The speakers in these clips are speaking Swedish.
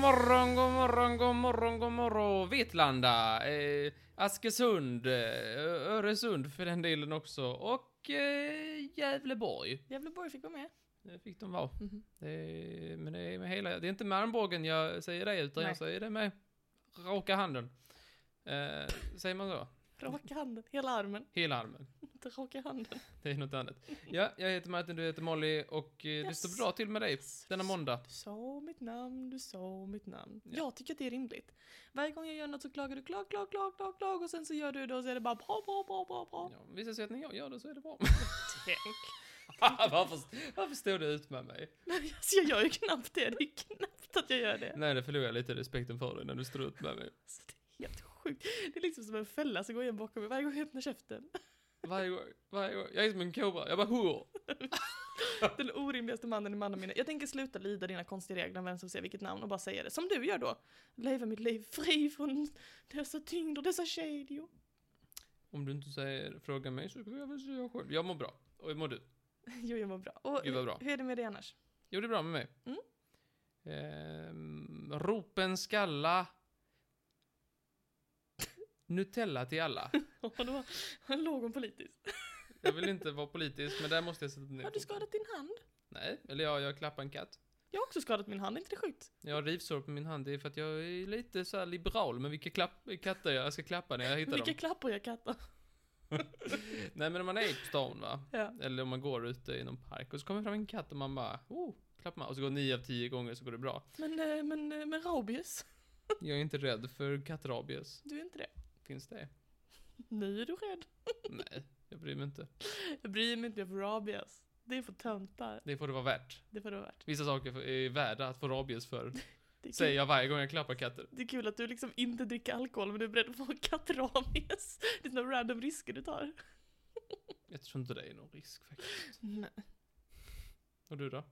morgon, god morgon, god morgon, god morgon. Vetlanda, eh, Askersund, eh, Öresund för den delen också och eh, Gävleborg. Gävleborg fick vara med. Det fick de vara. Mhm. Det är, men det är med hela, det är inte med armbågen jag säger det utan Nej. jag säger det med raka handen. Eh, säger man så? Raka handen, hela armen. Hela armen. Inte raka handen. Det är något annat. Ja, jag heter Martin, du heter Molly och eh, Yes. det står bra till med dig denna måndag. Du sa mitt namn, du sa mitt namn. Ja. Jag tycker att det är rimligt. Varje gång jag gör något så klagar du klag, klag, klag, klag, klag och sen så gör du det och så är det bara bra, bra, bra, bra, bra. Ja, visar sig att när jag gör det så är det bra. Tänk. varför, varför stod du ut med mig? Nej, alltså jag gör ju knappt det. Det är knappt att jag gör det. Nej, det förlorar jag lite respekten för dig när du står ut med mig. Alltså, det är helt sjukt. Det är liksom som en fälla som går igen bakom mig varje gång jag öppnar käften. Varje gång, varje gång. Jag är som en kobra, jag bara hur? Den orimligaste mannen i mannaminne. Jag tänker sluta lyda dina konstiga regler om vem som säger vilket namn och bara säga det. Som du gör då. Leva mitt liv fri från dessa tyngder, dessa kedjor. Om du inte säger fråga mig så kan jag väl säga själv. Jag mår bra. Och hur mår du? Jo, jag mår bra. Och Gud, vad bra. hur är det med dig annars? Jo, det är bra med mig. Mm. Ehm, ropen skalla. Nutella till alla. Ja, det var han låg hon politiskt. Jag vill inte vara politisk, men där måste jag sätta ner Har foten. du skadat din hand? Nej, eller jag, jag klappar en katt. Jag har också skadat min hand, är inte det sjukt? Jag har rivsår på min hand, det är för att jag är lite så här liberal med vilka klapp, katter jag ska klappa när jag hittar Vilka dem. klappar jag katter? Nej men om man är på stan va, Ja. eller om man går ute i någon park och så kommer fram en katt och man bara oh, klappar man. Och så går nio av tio gånger så går det bra. Men, eh, men, eh, men rabies, Jag är inte rädd för kattrabies. du är inte det. Finns det? Nu är du rädd. Nej, jag bryr mig inte. Jag bryr mig inte för rabies. Det är för töntar. Det får det vara värt. Det får det vara värt. Vissa saker är värda att få rabies för, Det är, säger kul. jag varje gång jag klappar katter. det är kul att du liksom inte dricker alkohol men du är beredd att få kattrabies. Det är såna random risker du tar. Jag tror inte det är någon risk faktiskt. Nej. Och du då?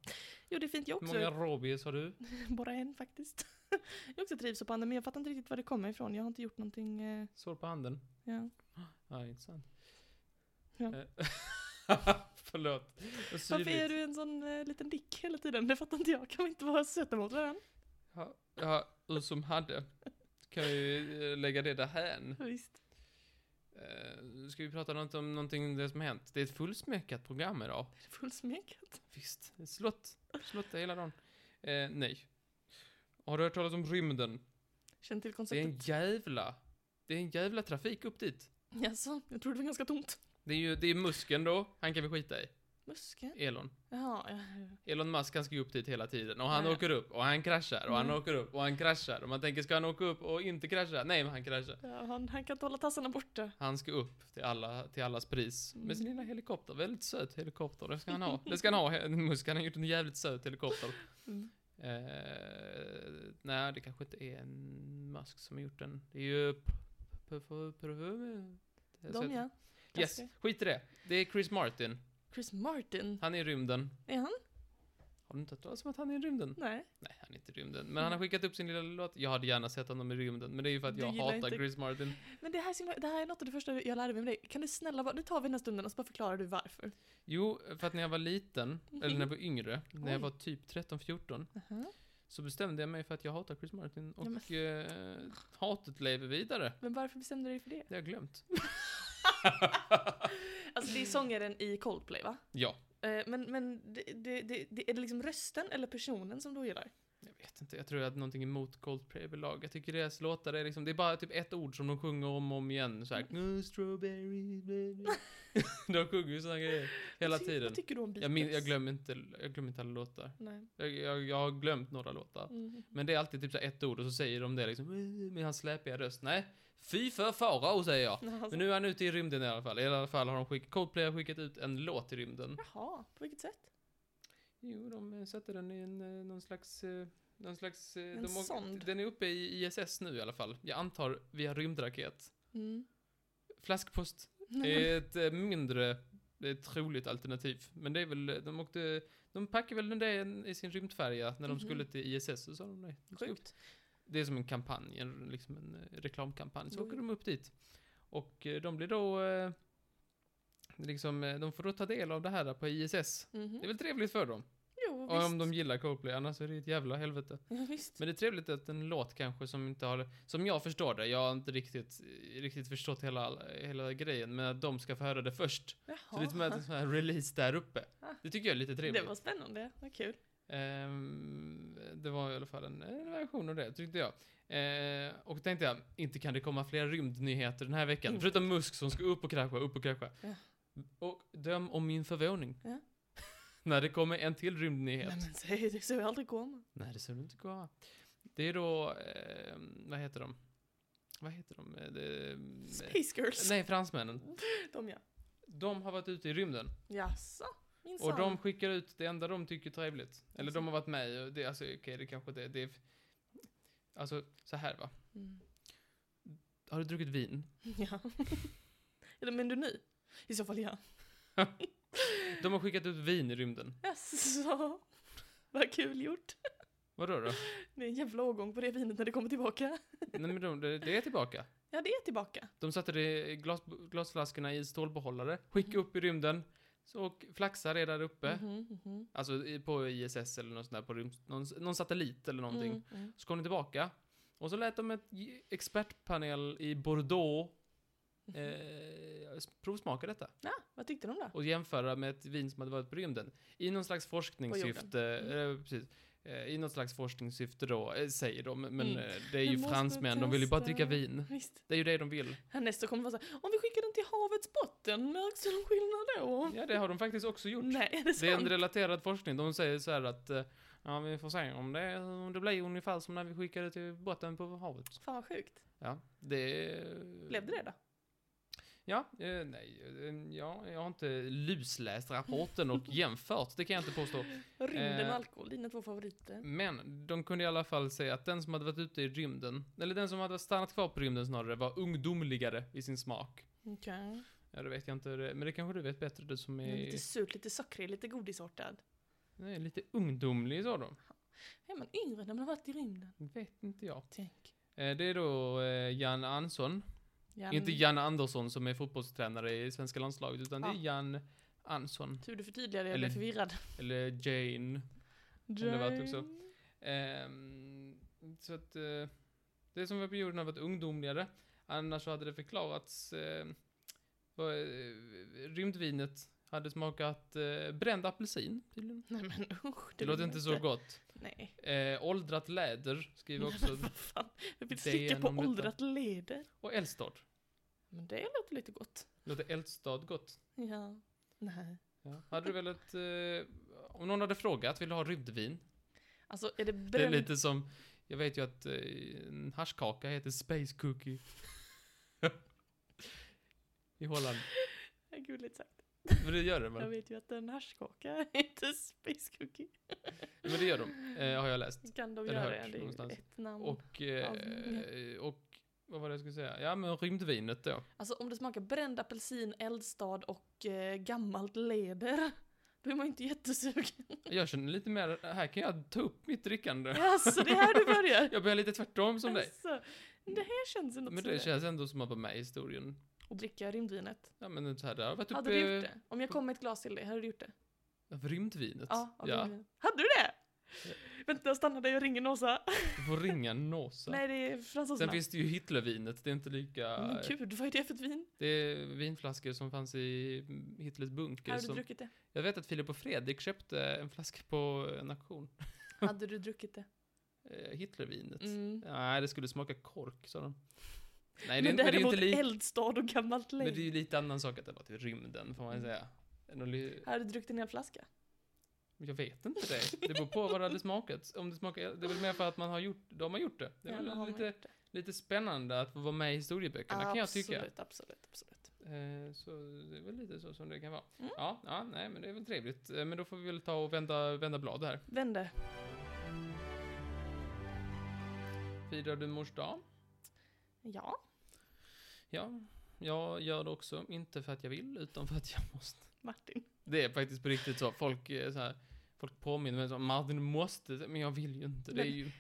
Jo, det är fint. Jag Hur också, många rabies har du? bara en faktiskt. Jag också trivs på andra men jag fattar inte riktigt var det kommer ifrån. Jag har inte gjort någonting, eh, Sår på handen? ja. Ja, intressant. Ja. Eh, Förlåt. Vad Varför är syrligt. du en sån eh, liten dick hela tiden? Det fattar inte jag. Kan vi inte vara söta mot varandra? Ja, ja, ur som hade. Kan vi eh, lägga det därhän. Visst. Eh, Ska vi prata något om någonting det som har hänt? Det är ett fullsmäckat program idag. Är det fullsmäckat? Visst. Ett Slott. Slott hela dagen. Eh, nej. Har du hört talas om rymden? Känn till Det är en konceptet. jävla... Det är en jävla trafik upp dit. Jaså, jag tror det var ganska tomt. Det är ju, det är musken då. Han kan vi skita i. Musken? Elon. Jaha, ja, ja. Elon Musk han ska ju upp dit hela tiden och han Ja, ja. åker upp och han kraschar och han Mm. åker upp och han kraschar och man tänker ska han åka upp och inte krascha? Nej men han kraschar. ja han, han kan inte hålla tassarna borta. Han ska upp till, alla, till allas pris med sin Mm. lilla helikopter. Väldigt söt helikopter, det ska han ha. Det ska han ha, Musk. Han har gjort en jävligt söt helikopter. Mm. Eh, nej, det kanske inte är en Musk som har gjort den. Det är ju... P- P- P- P- P- De ja. Yes, Ganska. skit i det. Det är Chris Martin. Chris Martin, Han är i rymden. är han? Har du inte hört talas om att han är i rymden? Nej. Nej, han är inte i rymden. Men han har skickat upp sin lilla låt. Jag hade gärna sett honom i rymden, men det är ju för att Du jag gillar hatar inte- Chris Martin. Men det här, är så himla- det här är något av det första jag lärde mig med dig. Kan du snälla, vara- nu tar vi den här stunden och så bara förklarar du varför. Jo, för att när jag var liten, eller när jag var yngre, när jag Oj. var typ 13-14, Aha. så bestämde jag mig för att jag hatar Chris Martin och Ja, men- eh, hatet lever vidare. Men varför bestämde du dig för det? Det har jag glömt. Alltså det är sångaren i Coldplay va? Ja, Eh, Men, men det, det, det, det, är det liksom rösten eller personen som du gillar? jag vet inte. Jag tror jag hade någonting emot Coldplay överlag. Jag tycker deras låtar är liksom, det är bara typ ett ord som de sjunger om och om igen. Såhär, mm. strawberry, baby. de sjunger ju sådana grejer hela Vad ty- tiden. Vad tycker du om Beatles? Jag, min, jag glömmer inte, jag glömmer inte alla låtar. Nej. Jag, jag, jag har glömt några låtar. Mm. Men det är alltid typ så här ett ord och så säger de det liksom "Eh", med hans släpiga röst. Nej, fy för farao säger jag. Alltså, Men nu är han ute i rymden i alla fall. I alla fall har de skickat, Coldplay har skickat ut en låt i rymden. Jaha, på vilket sätt? Jo, de eh, satte den i en, eh, någon slags... eh, Någon slags... eh, En de åker- sond. Den är uppe i ISS nu i alla fall. Jag antar via rymdraket. Mm. Flaskpost är ett eh, mindre eh, troligt alternativ. Men det är väl, eh, de åkte... De packade väl den i sin rymdfärja när de Mhm. skulle till ISS så sa de nej. De ska upp Sjukt. Det är som en kampanj, en, liksom en eh, reklamkampanj. Så Oj. åker de upp dit. Och eh, de blir då... Eh, liksom, eh, de får då ta del av det här på ISS. Mhm. Det är väl trevligt för dem? Jo, Ja, Och visst. om de gillar Coldplay, annars är det ett jävla helvete. Ja, visst. Men det är trevligt att en låt kanske som inte har, som jag förstår det, jag har inte riktigt, riktigt förstått hela, hela grejen, men att de ska få höra det först. Jaha. Så det är som att en sån här release där uppe. Ah. Det tycker jag är lite det trevligt. var spännande, vad kul. Ehm, det var i alla fall en, en version av det, tyckte jag. Ehm, och tänkte jag, inte kan det komma fler rymdnyheter den här veckan. Inte. Förutom Musk som ska upp och krascha, upp och krascha. Mm. Ja. Och döm om min förvåning. Ja. När det kommer en till rymdnyhet. Nej men säg det, så jag aldrig komma. Nej, det ser du inte gå. Det är då, ehm, vad heter de? Vad heter de? Eh, det- Space Girls. Nej, fransmännen. De ja. De har varit ute i rymden. Jaså? Minsann. Och de skickar ut det enda de tycker är trevligt. Eller Alltså. de har varit med i, och det, alltså okej, det kanske det, det är... Alltså, så här va. Mm. Har du druckit vin? Ja. Eller men du är ny? I så fall ja. De har skickat ut vin i rymden. Jaså? Vad kul gjort. Vadå då? Det är en jävla årgång på det vinet när det kommer tillbaka. Nej men de, det, det är tillbaka. Ja, det är tillbaka. De satte det i glas, glasflaskorna i stålbehållare, skickade upp i rymden, så, och flaxar är där uppe. Mhm, mhm. Alltså i- på ISS eller något sånt där, på rymd, någon, någon satellit eller någonting. Mm, mm. Så kom de tillbaka. Och så lät de ett j- expertpanel i Bordeaux Mhm. eh, s- provsmaka detta. Ja, vad tyckte de då? Och jämföra med ett vin som hade varit på rymden. I någon slags forskningssyfte, Mm. eh, precis. Eh, I något slags forskningssyfte då, eh, säger de. Men Mm. eh, det är ju Vi måste fransmän, de vill ju bara testa. dricka vin. Visst. Det är ju det de vill. Härnäst så kommer det vara så här, om vi skickar den till havets botten, märks det någon skillnad då? Ja, det har de faktiskt också gjort. Nej, är det Mm, sant? Det är en relaterad forskning. De säger så här att eh, ja, vi får se om det, om det blir ungefär som när vi skickade till botten på havet. Fan vad sjukt. Ja, det... eh, Blev det det då? Ja, eh, nej, eh, ja, jag har inte lusläst rapporten och jämfört, det kan jag inte påstå. Rymden Eh. Mm. och alkohol, dina två favoriter. Men de kunde i alla fall säga att den som hade varit ute i rymden, eller den som hade stannat kvar på rymden snarare, var ungdomligare i sin smak. Okej. Ja, det vet jag inte, det- men det kanske du vet bättre, du som Den är är Lite surt, lite sockrig, lite godisartad. nej, lite ungdomlig, sa de. Är man yngre när man har varit i rymden? Vet inte jag. Tänk. Eh, Det är då eh, Jan Andersson, Jan, inte Jan Andersson som är fotbollstränare i svenska landslaget, utan det är Ja. Jan Andersson, Tur du förtydligade, jag Eller- blev förvirrad. eller Jane. det typ har varit också. Jane. Ehm, så att eh, det som var på jorden har varit ungdomligare. Annars så hade det förklarats eh, vad, eh, rymdvinet hade smakat eh, bränd apelsin tydligen. Nej men usch. Det vill låter man inte så gott. Nej. Eh, åldrat läder skriver också. Vad fan, jag vill Det är slicka på genom detta. åldrat leder. Och eldstad. Men det låter lite gott. Låter eldstad gott? Ja. Nej. Ja. Hade du velat, eh, om någon hade frågat, vill du ha rymdvin? Alltså är det Det är bränd... lite som, jag vet ju att eh, en haschkaka heter space cookie. I Holland. Gulligt sagt. Men det gör det väl? Jag vet ju att en haschkaka heter Space Cookie. Men det gör de, eh, har jag läst. Kan de Eller göra hört det? Det är ju någonstans. ett namn. Och, Ja, eh, och vad var det jag skulle säga? Ja, men rymdvinet då. Alltså om det smakar bränd apelsin, eldstad och eh, gammalt leder. Då är man ju inte jättesugen. Jag känner lite mer, här kan jag ta upp mitt drickande. Alltså det är här du börjar. Jag börjar lite tvärtom som dig. Alltså, det här känns ju något Men sådär. det känns ändå som att vara med i historien. Och dricka rymdvinet. Ja, men så här, det har varit hade uppe- du gjort det? Om jag kom med ett glas till dig, hade du gjort det? Av rymdvinet? Ja, av ja. Eh. rymdvinet. Hade du det? Vänta, stanna där, jag ringer Nåsa. Du får ringa Nåsa. Nej, det är Sen fransoserna. finns det ju Hitlervinet, det är inte lika... Men gud, vad är det för ett vin? Det är vinflaskor som fanns i Hitlers bunker. Hade du Som, druckit det? jag vet att Filip och Fredrik köpte en flaska på en auktion. Hade du druckit det? Eh, Hitlervinet. Mm. Nej, det skulle smaka kork, sa de. Nej, det, men men det är ju däremot inte lik, eldstad och gammalt Men det är led. ju lite annan sak att det var till rymden, får man ju Mm. säga. Än att li- Hade du druckit en hel flaska? Jag vet inte det. Det beror på vad det hade smakat. Om det smakar, det är väl mer för att man har gjort, de har gjort det. Det Ja, är då har väl man lite, gjort det. lite spännande att få vara med i historieböckerna, kan jag tycka. Absolut, absolut, absolut. Eh, Så det är väl lite så som det kan vara. Mm. Ja, ja, nej, men det är väl trevligt. Eh, Men då får vi väl ta och vända, vända blad här. Vände. Firar du mors dag? Ja, Ja, jag gör det också. Inte för att jag vill, utan för att jag måste. Martin. Det är faktiskt på riktigt så. Folk, eh, så här, folk påminner mig så Martin du måste, men jag vill ju inte. Det är, Men- ju,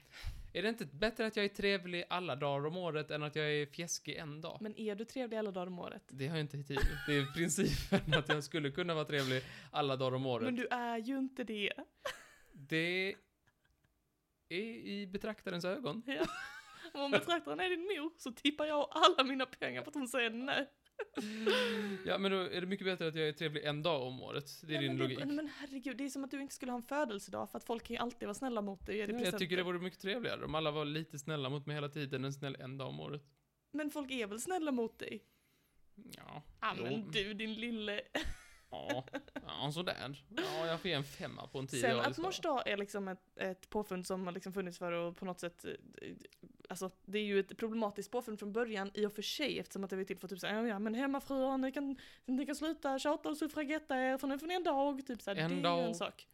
är det inte bättre att jag är trevlig alla dagar om året än att jag är fjäskig en dag? Men är du trevlig alla dagar om året? Det har jag inte tid Det är principen att jag skulle kunna vara trevlig alla dagar om året. Men du är ju inte det. Det är i betraktarens ögon. Ja. Och om betraktaren är din mor så tippar jag alla mina pengar på att hon säger nej. Ja, men då är det mycket bättre att jag är trevlig en dag om året. Det är Nej, din men logik. Nej, men herregud, det är som att du inte skulle ha en födelsedag för att folk kan ju alltid vara snälla mot dig och ge Nej, dig jag presenter. tycker det vore mycket trevligare om alla var lite snälla mot mig hela tiden än snäll en dag om året. Men folk är väl snälla mot dig? Ja, Ja Jo. men du din lille. ja, ja sådär. Ja, jag får ge en femma på en tidig Sen dag att istället. mors dag är liksom ett, ett påfund som har liksom funnits för och på något sätt, eh, alltså det är ju ett problematiskt påfund från början i och för sig eftersom att det var till för typ såhär, ja men hemmafruar ni kan, ni kan sluta tjata och suffragetta er för nu får ni en dag, typ såhär, En det är dag. ju en sak.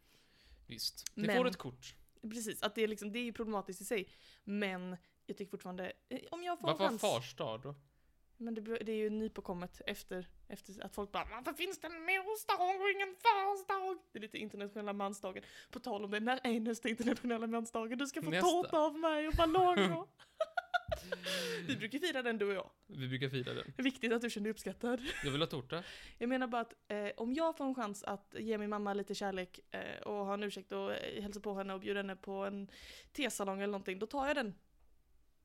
Visst, ni Men- får ett kort. Precis, att det är liksom, det är ju problematiskt i sig. Men jag tycker fortfarande, eh, om jag får Varför har chans. fars dag då? Men det, bör- det är ju nypåkommet efter, efter att folk bara Varför finns det en morsdag och ingen farsdag? Det är lite internationella mansdagen. På tal om det, när är nästa internationella mansdagen? Du ska få Nästa. tårta av mig och ballonger. Vi brukar fira den du och jag. Vi brukar fira den. Viktigt att du känner dig uppskattad. Jag vill ha tårta. Jag menar bara att eh, om jag får en chans att ge min mamma lite kärlek eh, och ha en ursäkt och eh, hälsa på henne och bjuda henne på en tesalong eller någonting, då tar jag den.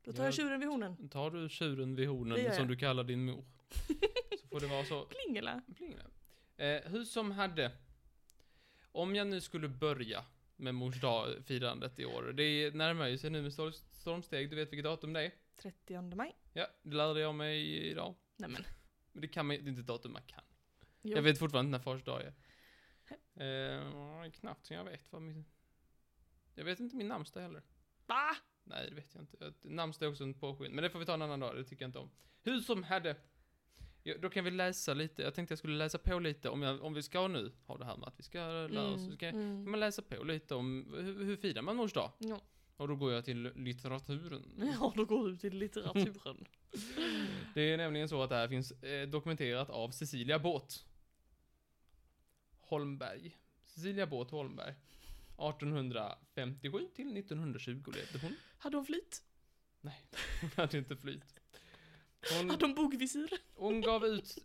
Då tar Ja. jag tjuren vid hornen. Tar du tjuren vid Det gör hornen jag. som du kallar din mor. Så får det vara så. Plingela. Plingla. Eh, hur som hade. Om jag nu skulle börja med mors dag-firandet i år. Det närmar ju sig nu med stor- stormsteg. Du vet vilket datum det är? 30 maj. Ja, det lärde jag mig idag. Nej men. Men det kan man ju, det är inte ett datum man kan. Jo. Jag vet fortfarande inte när fars dag är. Eh, knappt så jag vet vad min... Jag vet inte min namnsdag heller. Va? Nej, det vet jag inte. Att Namnsdag är också en påskyn, men det får vi ta en annan dag, det tycker jag inte om. Hur som hade. Ja, då kan vi läsa lite, jag tänkte jag skulle läsa på lite om, jag, om vi ska nu ha det här med att vi ska lära oss. Så kan, mm. kan man läsa på lite om hur, hur firar man mors dag? Ja. Och då går jag till litteraturen. Mm. ja, då går du till litteraturen. Det är nämligen så att det här finns eh, dokumenterat av Cecilia Båth. Holmberg. Cecilia Båth Holmberg. 1857 till 1920 levde hon. Hade hon flytt? Hon hade inte flytt. Hon, Hade hon bogvisir? hon gav ut,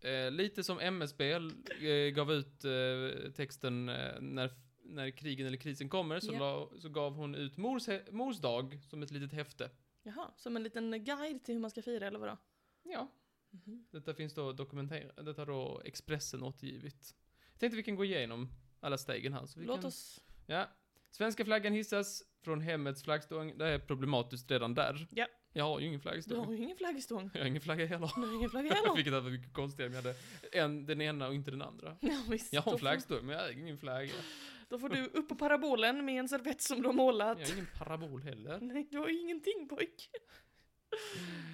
eh, lite som MSB eh, gav ut eh, texten eh, när, när krigen eller krisen kommer, så, Ja. la, så gav hon ut mors, he- mors dag som ett litet häfte. Jaha, som en liten guide till hur man ska fira eller vadå? Ja. Mhm. Detta finns då dokumenterat, detta har då Expressen återgivit. Jag tänkte vi kan gå igenom alla stegen här. Så vi Låt kan... oss... Ja. Svenska flaggan hissas från hemmets flaggstång. Det är problematiskt redan där. Ja. Jag har ju ingen Du flaggstång. har ju ingen flaggstång. Jag har ingen flagga heller. Du har ingen flagga heller. Vilket hade varit mycket konstigare om jag hade en, den ena och inte den andra. Ja, visst. Jag har Då en får- flaggstång, men jag äger ingen flagga. Då får du upp på parabolen med en servett som du har målat. Jag har ingen parabol heller. Nej, du har ju ingenting pojk.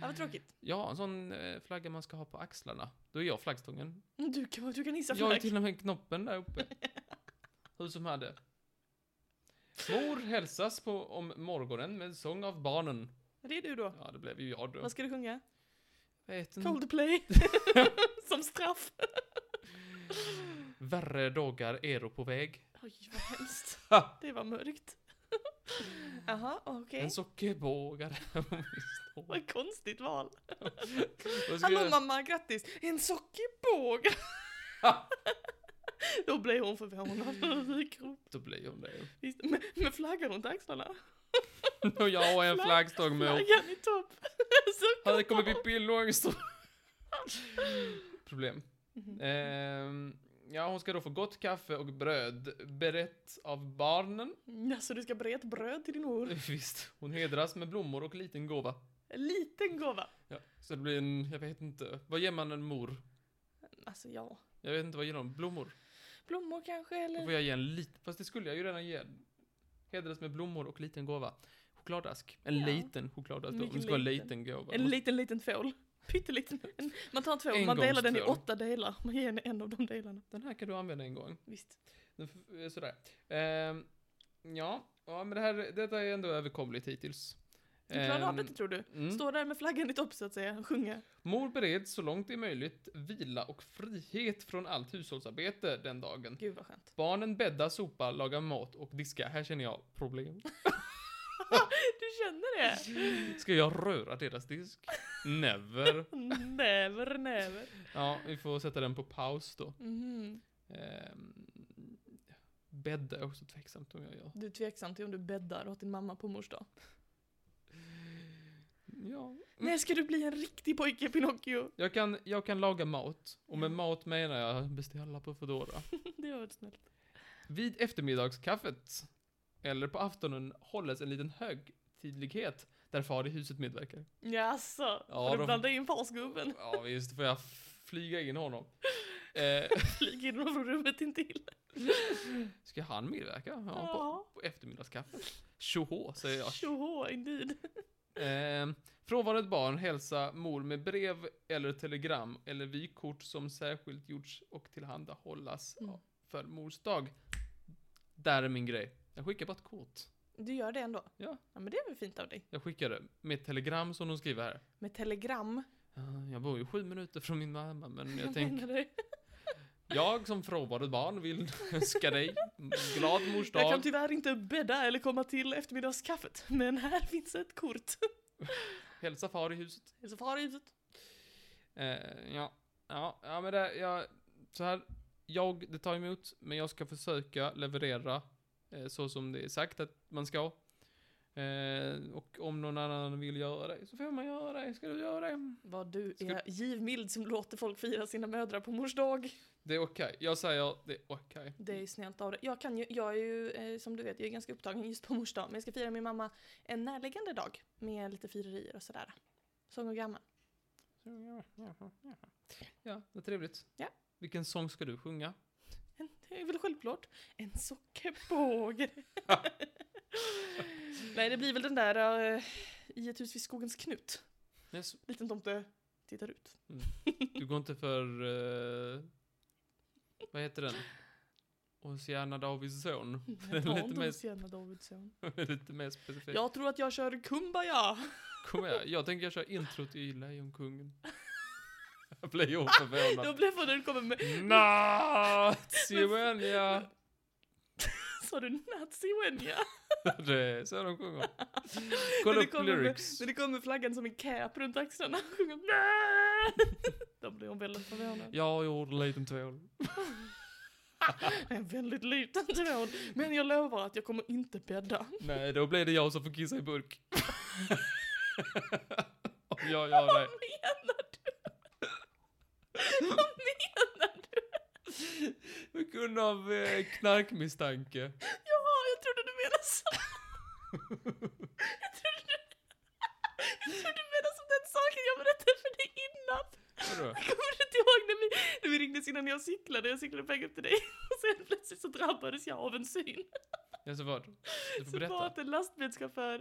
Ja, vad tråkigt. Jag har en sån eh, flagga man ska ha på axlarna. Då är jag flaggstången. Du kan, du kan hissa Jag har ju flagg. till och med knoppen där uppe. Hur som hade. Mor hälsas på om morgonen med sång av barnen. Det är du då. Ja, det blev ju jag då. Vad ska du sjunga? Vet Mm. inte. Coldplay. som straff. Värre dagar ero på väg. Oj, vad hemskt. Ha! Det var mörkt. Jaha, okej. En sockerbågare. Vad ett konstigt val. Vad ska Hallå jag- mamma, grattis! En sockerbåg! Då blev hon förvånad och rykrop. Då blir hon det. Visst, Med, med flaggan runt axlarna. Och jag har en Flagg- flaggstång med. Flaggan i topp. Här Sockerbåg! kommer Pippi Långstrump. Problem. Mhm. Ehm, ja, hon ska då få gott kaffe och bröd berett av barnen. Ja, så Mm, alltså, du ska bre ett bröd till din mor? Visst, hon hedras med blommor och liten gåva. En liten gåva. Ja, så det blir en, jag vet inte, vad ger man en mor? Alltså ja, Jag vet inte vad ger de, blommor? blommor kanske Då eller? får jag ge en liten, fast det skulle jag ju redan ge. Hedras med blommor och liten gåva. Chokladask. En Ja. liten chokladask då, men det Mycket ska vara en liten. liten gåva. En liten, liten tvål. Pytteliten. En, man tar en tvål, man delar den i Engångstvål. åtta delar. Man ger henne en av de delarna. Den här kan du använda en gång. Visst. Den f- eh, Sådär. Ehm, ja, ja, men det här, detta är ändå överkomligt hittills. Du klarar av Ehm, detta tror du? mm. Stå där med flaggan i topp så att säga och sjunga. Mor bereds så långt det är möjligt vila och frihet från allt hushållsarbete den dagen. Gud vad skönt. Barnen bäddar, sopar, lagar mat och diskar. Här känner jag problem. Du känner det? Ska jag röra deras disk? Never. Never, never. Ja, vi får sätta den på paus då. Mhm. Ehm, Bädda är också tveksamt om jag gör. Du är tveksam till om du bäddar åt din mamma på mors dag. Ja. När ska du bli en riktig pojke Pinocchio? Jag kan, jag kan laga mat. Och med Ja. mat menar jag beställa på Foodora. Det var väl snällt. Vid eftermiddagskaffet eller på aftonen hålles en liten högtidlighet där far i huset medverkar. Jaså? Ja, Har de- du blandat in farsgubben? Ja visst, får jag f- flyga in honom. Eh, Flyg in honom från rummet intill. ska han medverka? Ja, på, Ja. på eftermiddagskaffet. Tjohå, säger jag. Tjoho, indeed. Eh, frånvarande barn hälsa mor med brev eller telegram eller vykort som särskilt gjorts och tillhandahållas Mm. för mors dag. Där är min grej. Jag skickar bara ett kort. Du gör det ändå? Ja. Ja men det är väl fint av dig. Jag skickar det med ett telegram som de skriver här. Med telegram. Eh, Jag bor ju sju minuter från min mamma, men jag Vad tänker... menar du? Jag som frånvarande barn vill önska dig glad mors Jag kan typ- dag. tyvärr inte bädda eller komma till eftermiddagskaffet, men här finns ett kort. Hälsa far i huset. Hälsa far i huset. Eh, ja, ja, ja, men det, jag, så här, jag, det tar emot, men jag ska försöka leverera eh, så som det är sagt att man ska. Eh, och om någon annan vill göra det så får man göra det. Ska du göra det? Vad du Ska- är givmild som låter folk fira sina mödrar på mors dag. Det är okej. Jag säger det är okej. Det är snällt av dig. Jag kan ju, jag är ju, eh, som du vet, jag är ganska upptagen just på mors dag, men jag ska fira min mamma en närliggande dag med lite firerier och sådär. Sång och gammal. Ja, vad trevligt. Ja. Vilken sång ska du sjunga? En- Det är väl självklart. En sockerbåge. Nej, det blir väl den där eh, i ett hus vid skogens knut. Yes. Liten tomte tittar ut. Du går inte för... eh, vad heter den? Oceana Davids son. Den är Jag har lite inte mer- Luciana Davidsson. Lite mer specifikt. Jag tror att jag kör Kumbaya. Kom här, jag tänker jag kör introt i Lejonkungen. Jag blir ju Då förvånad. blev jag när du kommer med, Naziwenya! sa du nazi Wenya? Det är så de sjunger. När Kolla det upp kommer med- lyrics. När det kommer flaggan som en cap runt axlarna och sjunger "Nä!" Då blir hon väldigt förvånad. Jag gjorde en liten tvål. En väldigt liten tvål. Men jag lovar att jag kommer inte bädda. Nej, då blir det jag som får kissa i burk. Om jag gör det. Vad menar du? Vad menar du? På grund av eh, knarkmisstanke. Jaha, jag trodde du menade så. Jag trodde du... Jag trodde du menade som den saken jag berättade för dig innan. Vadå? Kommer du inte ihåg när vi, när vi ringdes innan jag cyklade? Jag cyklade på väg upp till dig. Och sen plötsligt så drabbades jag av en syn. Ja, så vad? Du får Så var berätta. att en lastbilschaufför,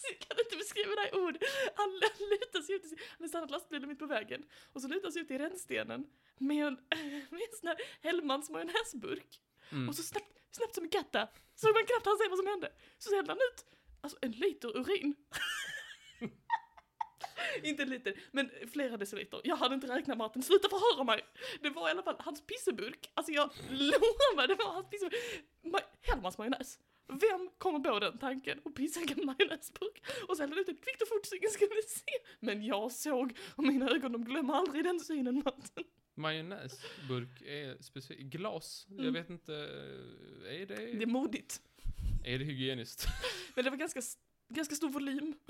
så jag kan inte beskriva det här i ord, han lutar sig ut, i- han har stannat lastbilen mitt på vägen och så lutar han sig ut i rännstenen med en, med en sån här Hellmans majonnäsburk Mm. och så snabbt, snabbt som en katta, så man knappt han säger vad som hände, så hällde han ut alltså en liter urin. inte en liter, men flera deciliter. Jag hade inte räknat med att den slutade förhöra mig. Det var i alla fall hans pisseburk, alltså jag lovar, det var hans pisseburk. Ma- Hellmans majonnäs. Vem kommer på den tanken och pissa i en majonnäsburk? Och så hällde han ut den kvickt och fort så ingen skulle se. Men jag såg, och mina ögon de glömmer aldrig den synen. Martin. Majonnäsburk är specifikt. Glas? Jag Mm. vet inte. eh, Är det, Det är modigt. Är det hygieniskt? Men det var ganska, ganska stor volym.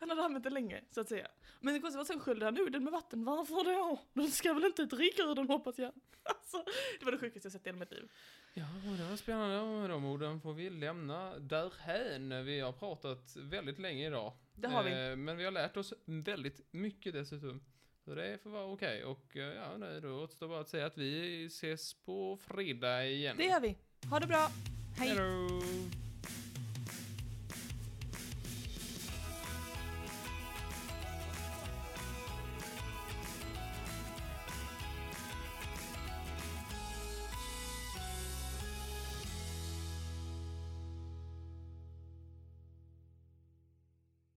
Han hade använt det länge, så att säga. Men det konstiga var att sen sköljde han ur den med vatten. Varför då? De ska väl inte dricka ur den hoppas jag. Alltså, det var det sjukaste jag sett i hela mitt liv. Ja, och det var spännande. Och med de orden får vi lämna därhän. Vi har pratat väldigt länge idag. Det har vi. Eh, Men vi har lärt oss väldigt mycket dessutom. Så det får vara okej. Och eh, ja, nej, då återstår bara att säga att vi ses på fredag igen. Det gör vi. Ha det bra. Hej. Hej då!